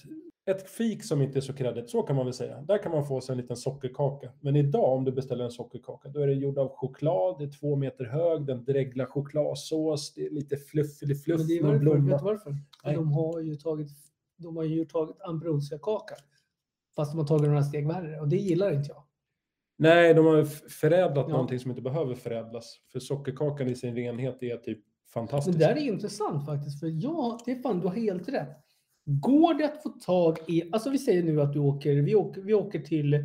ett fik som inte är så kreddigt, så kan man väl säga. Där kan man få sig en liten sockerkaka. Men idag om du beställer en sockerkaka, då är det gjord av choklad, det är två meter hög, den dreglar chokladsås, det är lite fluffig fluff,
Men det är
någon
varför, vet du
blomma.
varför? För
Nej.
de har ju tagit, de har ju tagit ambrosiakaka. Fast de har tagit några steg värre och det gillar inte jag.
Nej, de har f- förädlat
Ja.
någonting som inte behöver förädlas. För sockerkakan i sin renhet är typ fantastisk.
Men det där är intressant faktiskt, för ja, det är fan, du har helt rätt. Går det att få tag i, alltså vi säger nu att du åker, vi åker, vi åker till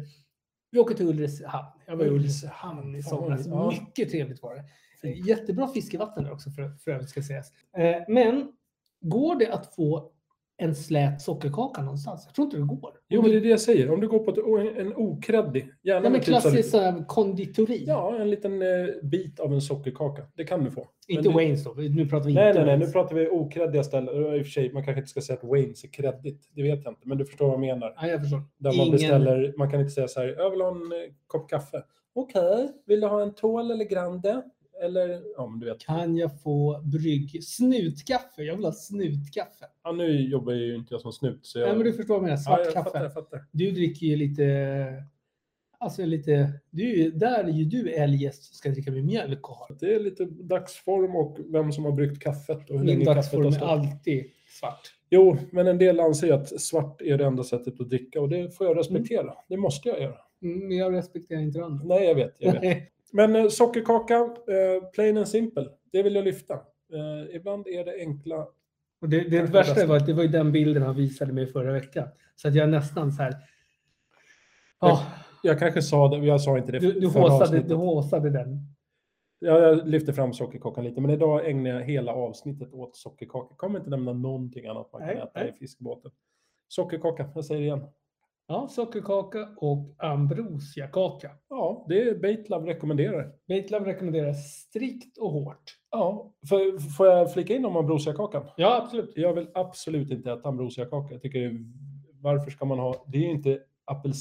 vi åker till Ulricehamn. Jag var i Ulricehamn i
Fan,
somras.
ja.
Mycket trevligt var det.
Fint.
Jättebra fiskevatten där också för, för övrigt ska sägas. Eh, Men går det att få en slät sockerkaka någonstans? Jag tror inte det går.
Jo, men det är det jag säger. Om du går på ett, o- en okreddig, gärna
Nej, men
med typ så här-
klassisk sån här konditori.
Ja, en liten eh, bit av en sockerkaka. Det kan du få.
inte
Men det-
Waynes då. Nu pratar vi
Nej,
inte
nej, nej.
Wayne's.
Nu pratar vi okreddiga ställen. I och för sig, man kanske inte ska säga att Waynes är kreddigt. Det vet jag inte. Men du förstår vad jag menar.
Ja, jag förstår.
Där man beställer. Man kan inte säga så här. Jag vill ha en eh, kopp kaffe. Okej. Vill du ha en tål eller grande? Eller, ja men du vet.
Kan jag få brygg... Snutkaffe? Jag vill ha snutkaffe.
Ja, nu jobbar ju inte jag som snut så jag...
Nej, men du förstår vad jag menar. Svart
ja, jag
kaffe.
fattar, jag fattar.
Du dricker ju lite... Alltså lite... Du, är ju- där är ju du eljest som ska dricka med mjölk och har.
Det är lite dagsform och vem som har bryggt kaffet och hur
Min
länge kaffet
dagsform
har
är
stått.
alltid svart.
Jo, men en del anser ju att svart är det enda sättet att dricka och det får jag respektera. Det måste jag göra.
Mm, men jag respekterar inte det andra.
Nej, jag vet. Jag vet. Men eh, sockerkaka, eh, plain and simple, det vill jag lyfta. Eh, ibland är det enkla.
Och det, det
Kanske
värsta
bäst.
var att det var ju den bilden han visade mig förra veckan. Så att jag nästan så här... Ja,
Jag kanske sa det, jag sa inte det
du, du,
förra
håsade,
avsnittet.
du håsade den.
Ja, Jag lyfter fram sockerkakan lite, men idag ägnar jag hela avsnittet åt sockerkaka. Jag kommer inte nämna någonting annat man kan
Nej,
äta
nej.
i fiskbåten. Sockerkaka, jag säger det igen.
Ja, sockerkaka och ambrosiakaka.
Ja, det är Baitlab rekommenderar.
Baitlove rekommenderar strikt och hårt.
Ja, för, får jag flika in om ambrosiakakan?
Ja, absolut.
Jag vill absolut inte äta ambrosiakaka. Jag tycker, det är- varför ska man ha... Det är ju inte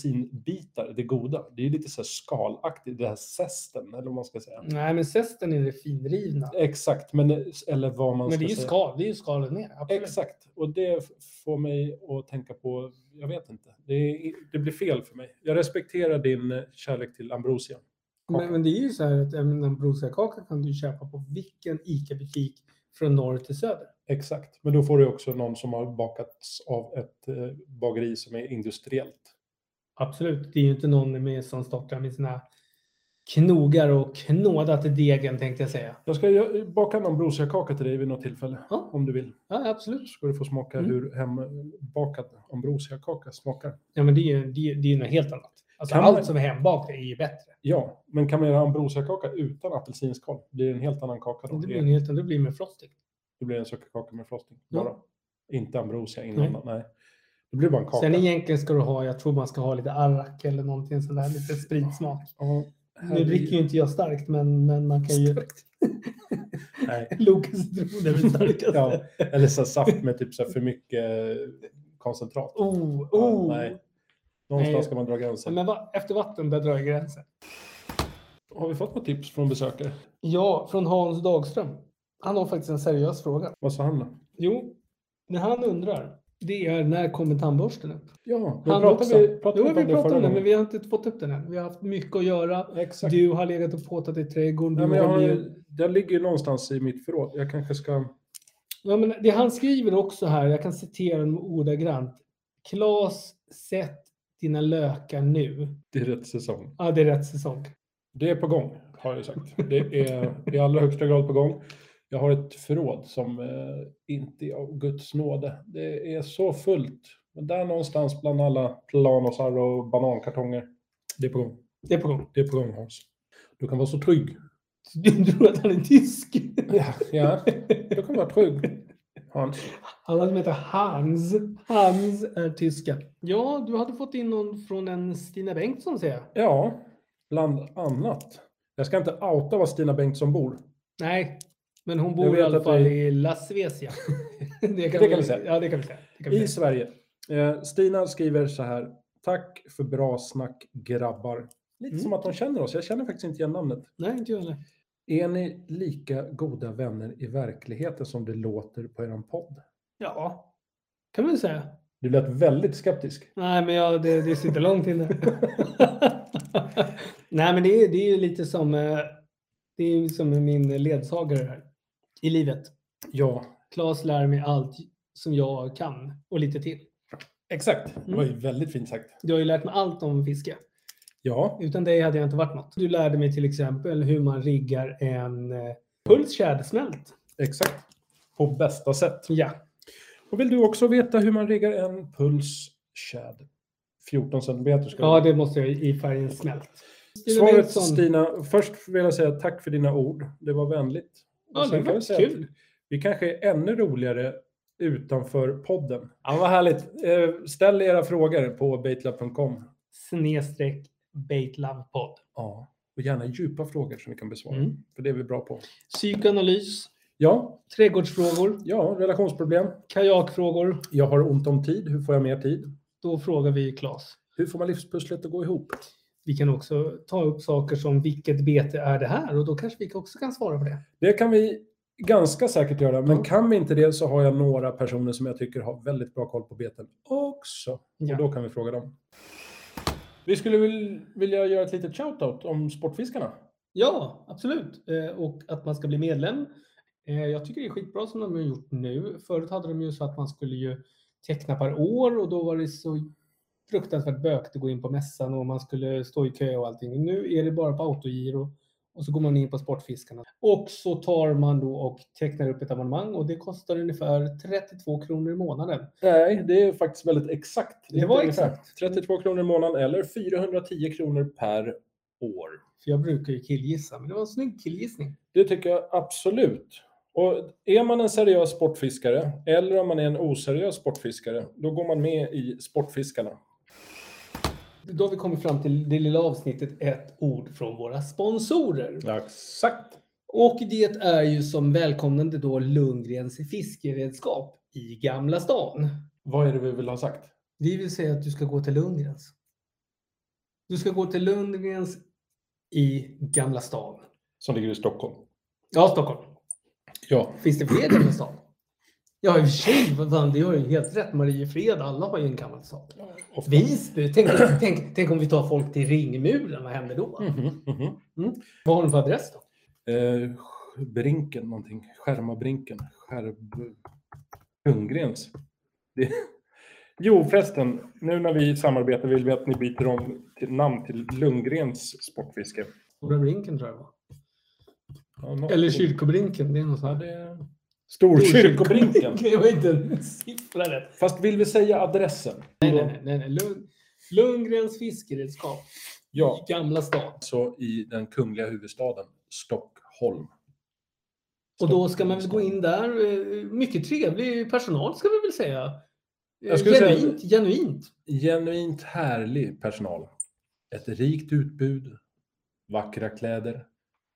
apelsinbitar, det goda. Det är lite så här skalaktigt, det här zesten, eller vad man ska säga.
Nej, men zesten är det finrivna.
Exakt, men eller vad man
Men det
ska
är ju
säga.
skal, det är ju skalen ner. Absolut.
Exakt, och det f- får mig att tänka på, jag vet inte, det, är, det blir fel för mig. Jag respekterar din eh, kärlek till ambrosia.
Men, men det är ju så här att även ambrosiakaka kan du köpa på vilken ICA-butik från norr till söder.
Exakt, men då får du också någon som har bakats av ett eh, bageri som är industriellt.
Absolut, det är ju inte någon med som startar med sina knogar och knådat i degen tänkte jag säga.
Jag ska gö- baka en ambrosiakaka till dig vid något tillfälle,
Ja.
om du vill.
Ja, absolut.
Så ska du få smaka
Mm.
hur hembakad ambrosiakaka smakar.
Ja, men det är ju, det är, ju- det är ju något helt annat. Alltså,
Kan
allt
man-
som är hembakt är ju bättre.
Ja, men kan man göra ambrosiakaka utan apelsinskal blir det en helt annan kaka då.
Det blir, en helt- det blir med frosting.
Det blir en sockerkaka med frosting.
Ja.
Bara. Inte ambrosia
Nej.
innan. Nej. Det blir bara en kaka.
Sen egentligen ska du ha, jag tror man ska ha lite arrak eller någonting sådär, lite spritsmak.
Ja, här
Nu
blir-
dricker ju inte jag starkt, men, men man kan ju...
Nej.
Lukas drog den starkaste.
ja, eller så här saft med typ så här för mycket eh, koncentrat.
Oh,
Ja,
oh.
nej. Någonstans
Nej.
ska man dra gränsen.
Men va, efter vatten, där drar jag gränsen.
Har vi fått något tips från besökare?
Ja, från Hans Dagström. Han har faktiskt en seriös fråga.
Vad sa han då?
Jo, det han undrar, det är när kommer tandborsten upp?
Ja, då
Han också.
pratade vi, pratade
Jo, vi
inte det
pratade
förra
om det,
gången.
men vi har inte fått upp den än. Vi har haft mycket att göra.
Exakt.
Du har legat och påtat i trädgården.
Nej,
du
men jag
har
har,
legat-
den ligger ju någonstans i mitt förråd. Jag kanske ska...
Ja, men det han skriver också här, jag kan citera honom ordagrant. Klas, sätt dina lökar nu.
Det är rätt säsong.
Ja, det är rätt säsong.
Det är på gång, har jag sagt. Det är i allra högsta grad på gång. Jag har ett förråd som eh, inte är av Guds nåde. Det är så fullt. Men där någonstans bland alla planosar och banankartonger. Det är på gång.
Det är på gång.
Det är på gång, Hans. Du kan vara så trygg.
Du tror att han är tysk?
Ja, ja. du kan vara trygg, Hans.
Alla som heter Hans. Hans är tyska. Ja, du hade fått in någon från en Stina Bengtsson säger jag.
Ja, bland annat. Jag ska inte outa var Stina Bengtsson bor.
Nej, men hon
Jag
bor
vet
i alla
att
fall
det-
i Las Vegas. Det
kan vi säga.
Ja, det kan vi säga. Det kan vi säga.
I Sverige. Eh, Stina skriver så här. Tack för bra snack grabbar. Lite
Mm.
som att hon känner oss. Jag känner faktiskt inte igen namnet.
Nej, inte jag heller.
Är ni lika goda vänner i verkligheten som det låter på er podd?
Ja, kan man väl säga.
Du lät väldigt skeptisk.
Nej, men jag, det, det sitter långt inne. Nej, men det är, det är ju lite som, eh, det är ju som min ledsagare här i livet.
Ja,
Claes lär mig allt som jag kan och lite till.
exakt. Det var ju väldigt fint sagt.
Du har ju lärt mig allt om fiske.
Ja,
Utan dig hade jag inte varit något. Du lärde mig till exempel hur man riggar en eh, puls tjädersmält.
exakt. På bästa sätt.
Ja.
Och vill du också veta hur man riggar en puls tjäd? 14 centimeter ska
ja, det måste jag ju i färgen smält. Stina
Svaret
Bengtsson.
Stina, först vill jag säga tack för dina ord. Det var vänligt.
Ja,
Och sen
det
kan
var
jag säga att
kul.
Vi kanske är ännu roligare utanför podden. Ja, vad härligt. Eh, Ställ era frågor på baitlab.com.
Snedstreck Baitlovepod.
Ja, och gärna djupa frågor som vi kan besvara.
Mm.
För det är vi bra på.
Psykoanalys,
Ja,
trädgårdsfrågor,
ja, relationsproblem.
kajakfrågor.
Jag har ont om tid. Hur får jag mer tid?
Då frågar vi Claes.
Hur får man livspusslet att gå ihop?
Vi kan också ta upp saker som vilket bete är det här och då kanske vi också kan svara på det.
Det kan vi ganska säkert göra, men kan vi inte det så har jag några personer som jag tycker har väldigt bra koll på beten också.
Ja.
Och då kan vi fråga dem. Vi skulle vil- vilja göra ett litet shout-out om Sportfiskarna.
Ja, absolut. Eh, Och att man ska bli medlem. Eh, Jag tycker det är skitbra som de har gjort nu. Förut hade de ju så att man skulle ju teckna per år och då var det så fruktansvärt bökigt att gå in på mässan och man skulle stå i kö och allting. Nu är det bara på autogiro och så går man in på Sportfiskarna. Och så tar man då och tecknar upp ett abonnemang och det kostar ungefär 32 kronor i månaden.
Nej, det är faktiskt väldigt exakt.
Det var
Inte
exakt.
32 kronor i månaden eller 410 kronor per år.
För jag brukar ju killgissa, men det var en snygg killgissning.
Det tycker jag absolut. Och är man en seriös sportfiskare eller om man är en oseriös sportfiskare, då går man med i Sportfiskarna.
Då har vi kommit fram till det lilla avsnittet ett ord från våra sponsorer.
Exakt.
Och det är ju som välkomnande då Lundgrens fiskeredskap i Gamla stan.
Vad är det vi vill ha sagt?
Vi vill säga att du ska gå till Lundgrens. Du ska gå till Lundgrens i Gamla stan.
Som ligger i Stockholm.
Ja, Stockholm.
Ja.
Finns det fler Gamla stan? Ja, i och för sig. vad fan, Det har ju helt rätt. Mariefred, alla har ju en Gamla stan.
ofta.
Visby. Tänk, tänk, tänk om vi tar folk till Ringmuren. Vad händer då?
Mhm, mhm.
Vad har de för adress då?
Eh, brinken någonting. Skärmabrinken. Skärb... Ljunggrens. Det... Jo förresten, nu när vi samarbetar vill vi att ni byter om till namn till Lundgrens Sportfiske.
Stora Brinken tror jag det var.
Ja, något-
Eller Kyrkobrinken. Det är något
Ja,
sånt. här.
det... Storkyrkobrinken.
Det var inte en siffra rätt.
Fast vill vi säga adressen?
Nej, nej, nej. nej, nej. Lund, Lundgrens fiskeredskap.
Ja,
I Gamla stan.
så i den kungliga huvudstaden Stockholm.
Och då ska man väl gå in där. eh, Mycket trevlig personal ska vi väl säga. Eh,
Jag skulle säga-
genuint, genuint.
Genuint härlig personal. Ett rikt utbud, vackra kläder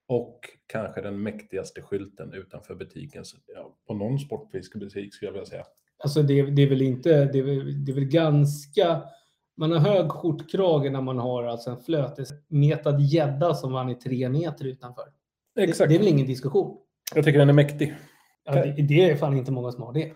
och kanske den mäktigaste skylten utanför butiken. Så, ja, på någon sportfiskebutik skulle jag vilja säga.
Alltså det, det är väl inte, det är väl, det är väl ganska, man har hög skjortkrage när man har alltså en flötesmetad gädda som vann i tre meter utanför. Det,
Exakt.
det är väl ingen diskussion.
Jag tycker den är mäktig.
Ja, det, det är fan inte många som har det.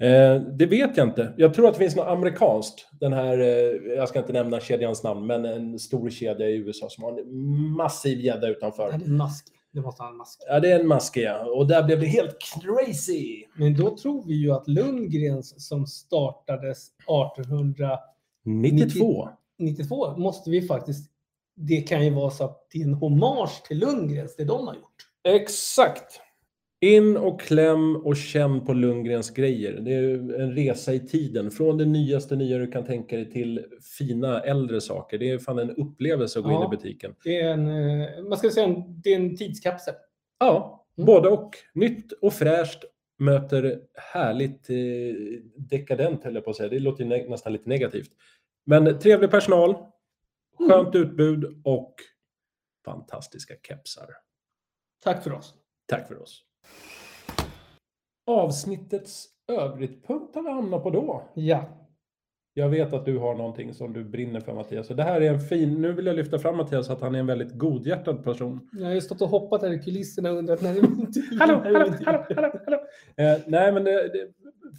Eh, det vet jag inte. Jag tror att det finns något amerikanskt. Den här, eh, jag ska inte nämna kedjans namn, men en stor kedja i USA som har en massiv gädda utanför.
Det är en mask. Det måste ha en mask.
Ja, det är en maske, ja. Och där blev det helt crazy.
Men då tror vi ju att Lundgrens som startades 1800
92.
92 måste vi faktiskt... Det kan ju vara så att det är en hommage till Lundgrens, det de har gjort.
Exakt. In och kläm och känn på Lundgrens grejer. Det är ju en resa i tiden. Från det nyaste nya du kan tänka dig till fina äldre saker. Det är fan en upplevelse att gå
Ja.
in i butiken.
Det är en, eh, man ska säga en, det är en tidskapsel.
Ja,
Mm.
både och. Nytt och fräscht möter härligt eh, dekadent, höll jag på att säga. Det låter ju nä- nästan lite negativt. Men trevlig personal,
Mm.
skönt utbud och fantastiska kepsar.
Tack för oss.
Tack för oss. Avsnittets övrigt punkt har vi hamnat på då.
Ja.
Jag vet att du har någonting som du brinner för Mattias. Så det här är en fin, nu vill jag lyfta fram Mattias att han är en väldigt godhjärtad person.
Jag har ju stått och hoppat här i kulisserna och undrat när det var tur.
Hallå, hallå, hallå, hallå, hallå. Eh, nej, men det, det,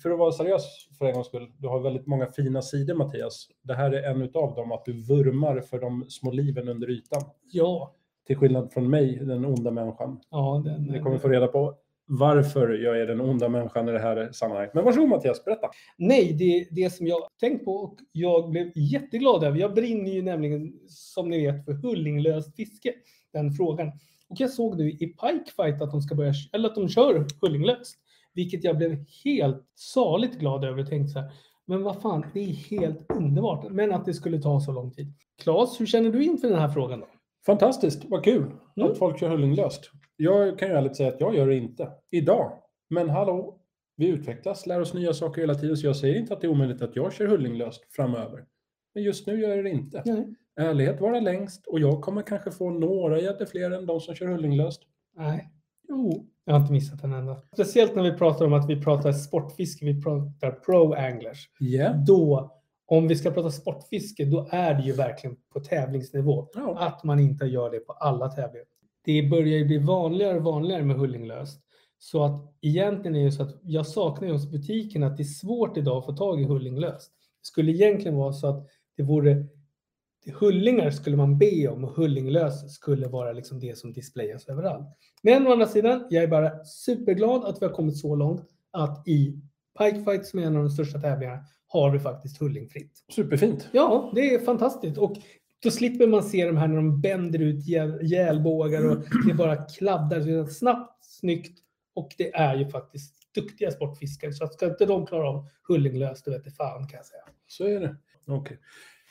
för att vara seriös för en gångs skull. Du har väldigt många fina sidor Mattias. Det här är en utav dem, att du vurmar för de små liven under ytan.
Ja.
Till skillnad från mig, den onda människan.
Ja, den,
Ni kommer få reda på varför jag är den onda människan i det här sammanhanget. Men varsågod Mattias, berätta.
Nej, det är det som jag tänkt på och jag blev jätteglad över. Jag brinner ju nämligen, som ni vet, för hullinglöst fiske. Den frågan. Och jag såg nu i Pikefight att de ska börja, eller att de kör hullinglöst. Vilket jag blev helt saligt glad över och tänkte så här, men vad fan, det är helt underbart. Men att det skulle ta så lång tid. Claes, hur känner du inför den här frågan då?
Fantastiskt, vad kul
Mm.
att folk kör hullinglöst. Jag kan ju ärligt säga att jag gör det inte idag. Men hallå, vi utvecklas, lär oss nya saker hela tiden. Så jag säger inte att det är omöjligt att jag kör hullinglöst framöver. Men just nu gör jag det inte.
Nej.
Ärlighet vara längst och jag kommer kanske få några jättefler än de som kör hullinglöst.
Nej. Jo. Jag har inte missat en enda. Speciellt när vi pratar om att vi pratar sportfiske, vi pratar pro-anglers.
Yeah.
då om vi ska prata sportfiske, då är det ju verkligen på tävlingsnivå.
Ja.
Att man inte gör det på alla tävlingar. Det börjar ju bli vanligare och vanligare med hullinglöst. Så att egentligen är det så att jag saknar ju hos butiken att det är svårt idag att få tag i hullinglöst. Det skulle egentligen vara så att det vore det hullingar skulle man be om och hullinglös skulle vara liksom det som displayas överallt. Men å andra sidan, jag är bara superglad att vi har kommit så långt att i Pikefight som är en av de största tävlingarna har vi faktiskt hullingfritt.
Superfint.
Ja, det är fantastiskt. Och då slipper man se de här när de bänder ut gäl- gälbågar och det bara kladdar. Så det är Snabbt, snyggt och det är ju faktiskt duktiga sportfiskare. Så att ska inte de klara av hullinglöst, då vete fan kan jag säga.
Så är det. Okej.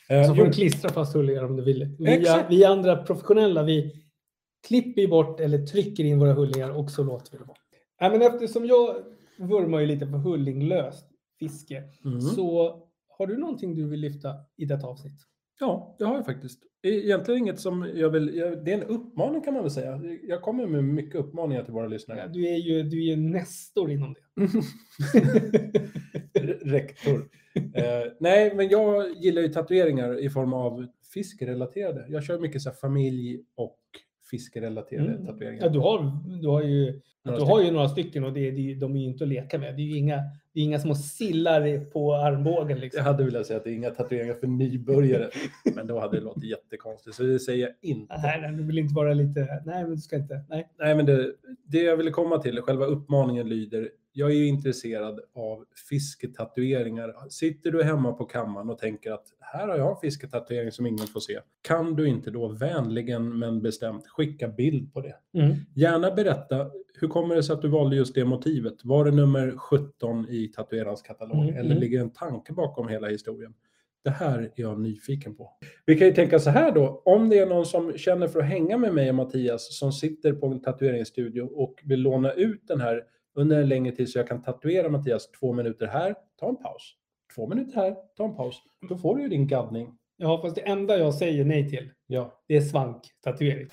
Eh,
Så får
jo,
du klistra fast hullingar om du vill. Vi,
Exakt.
vi andra professionella, vi klipper ju bort eller trycker in våra hullingar och så låter vi det vara. Nej, men eftersom jag vurmar ju lite för hullinglöst fiske
mm.
så har du någonting du vill lyfta i detta avsnitt?
Ja, det har jag faktiskt. E- Egentligen inget som jag vill... Jag, det är en uppmaning kan man väl säga. Jag kommer med mycket uppmaningar till våra lyssnare.
Ja, du är ju du är ju nästor inom det.
Re- Rektor. Eh, nej, men jag gillar ju tatueringar i form av fiskerelaterade. Jag kör mycket så här familj och fiskerelaterade
Mm.
tatueringar.
Ja, du, har, du, har ju,
Några
du har ju några stycken och det, är- det, är ju- de är ju inte att leka med. Det är ju inga, det är inga små sillar på armbågen.
Jag
Liksom.
hade velat säga att det är inga tatueringar för nybörjare, men då hade det låtit jättekonstigt, så det säger jag inte.
Nej, nej, du vill inte vara lite... Nej, men du ska inte... Nej.
Nej, men det, det jag ville komma till, själva uppmaningen lyder, jag är ju intresserad av fisketatueringar. Sitter du hemma på kammaren och tänker att här har jag en fisketatuering som ingen får se, kan du inte då vänligen men bestämt skicka bild på det? Gärna berätta, hur kommer det sig att du valde just det motivet? Var det nummer 17 i tatuerarens katalog
Mm,
eller
mm.
ligger en tanke bakom hela historien? Det här är jag nyfiken på. Vi kan ju tänka så här då, om det är någon som känner för att hänga med mig och Mattias som sitter på en tatueringsstudio och vill låna ut den här under en längre tid så jag kan tatuera Mattias två minuter här, ta en paus. Två minuter här, ta en paus. Då får du ju din gaddning.
Ja, fast det enda jag säger nej till,
Ja.
det är svanktatuering.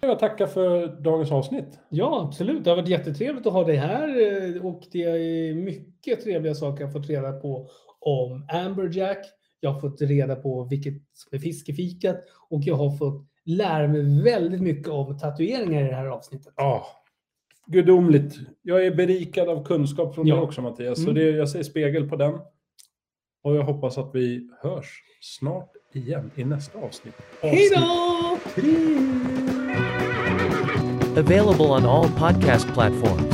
Jag tackar för dagens avsnitt.
Ja, absolut. Det har varit jättetrevligt att ha dig här eh, och det är mycket trevliga saker jag har fått reda på om Amberjack. Jag har fått reda på vilket som är fiskefikat och jag har fått lära mig väldigt mycket om tatueringar i det här avsnittet.
Ja, gudomligt. Jag är berikad av kunskap från
Ja.
dig också Mattias, så
Mm.
det, jag säger spegel på den. Och jag hoppas att vi hörs snart igen i nästa avsnitt.
Hej då!
Avsnitt tre.
Available on all podcast platforms.